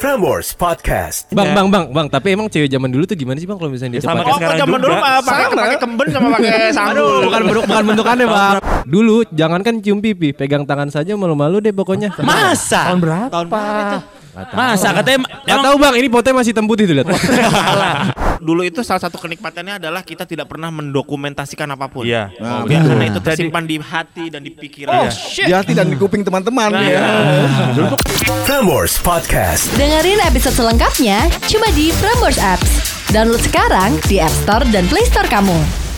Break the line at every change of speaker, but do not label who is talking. Prambors Podcast.
Bang, bang, bang, bang. Tapi emang cewek zaman dulu tuh gimana sih bang kalau misalnya dia
Ya.
pakai?
sama kayak sekarang
zaman dulu
juga.
mah pakai pakai kemben sama kan pakai sandal.
bukan bentuk, bukan bentukannya bang. Dulu jangankan cium pipi, pegang tangan saja malu-malu deh pokoknya.
Masa? Tahun berapa? Masa katanya
Gak tahu bang, ini potnya masih hitam putih tuh lihat.
Dulu itu salah satu kenikmatannya adalah kita tidak pernah mendokumentasikan apapun.
Iya.
Nah,
Oh, biar karena itu tersimpan di hati dan di pikiran.
Iya.
Oh,
Di hati dan di kuping teman-teman.
Nah,
Iya.
Prambors Podcast.
Dengerin episode selengkapnya cuma di Prambors Apps. Download sekarang di App Store dan Play Store kamu.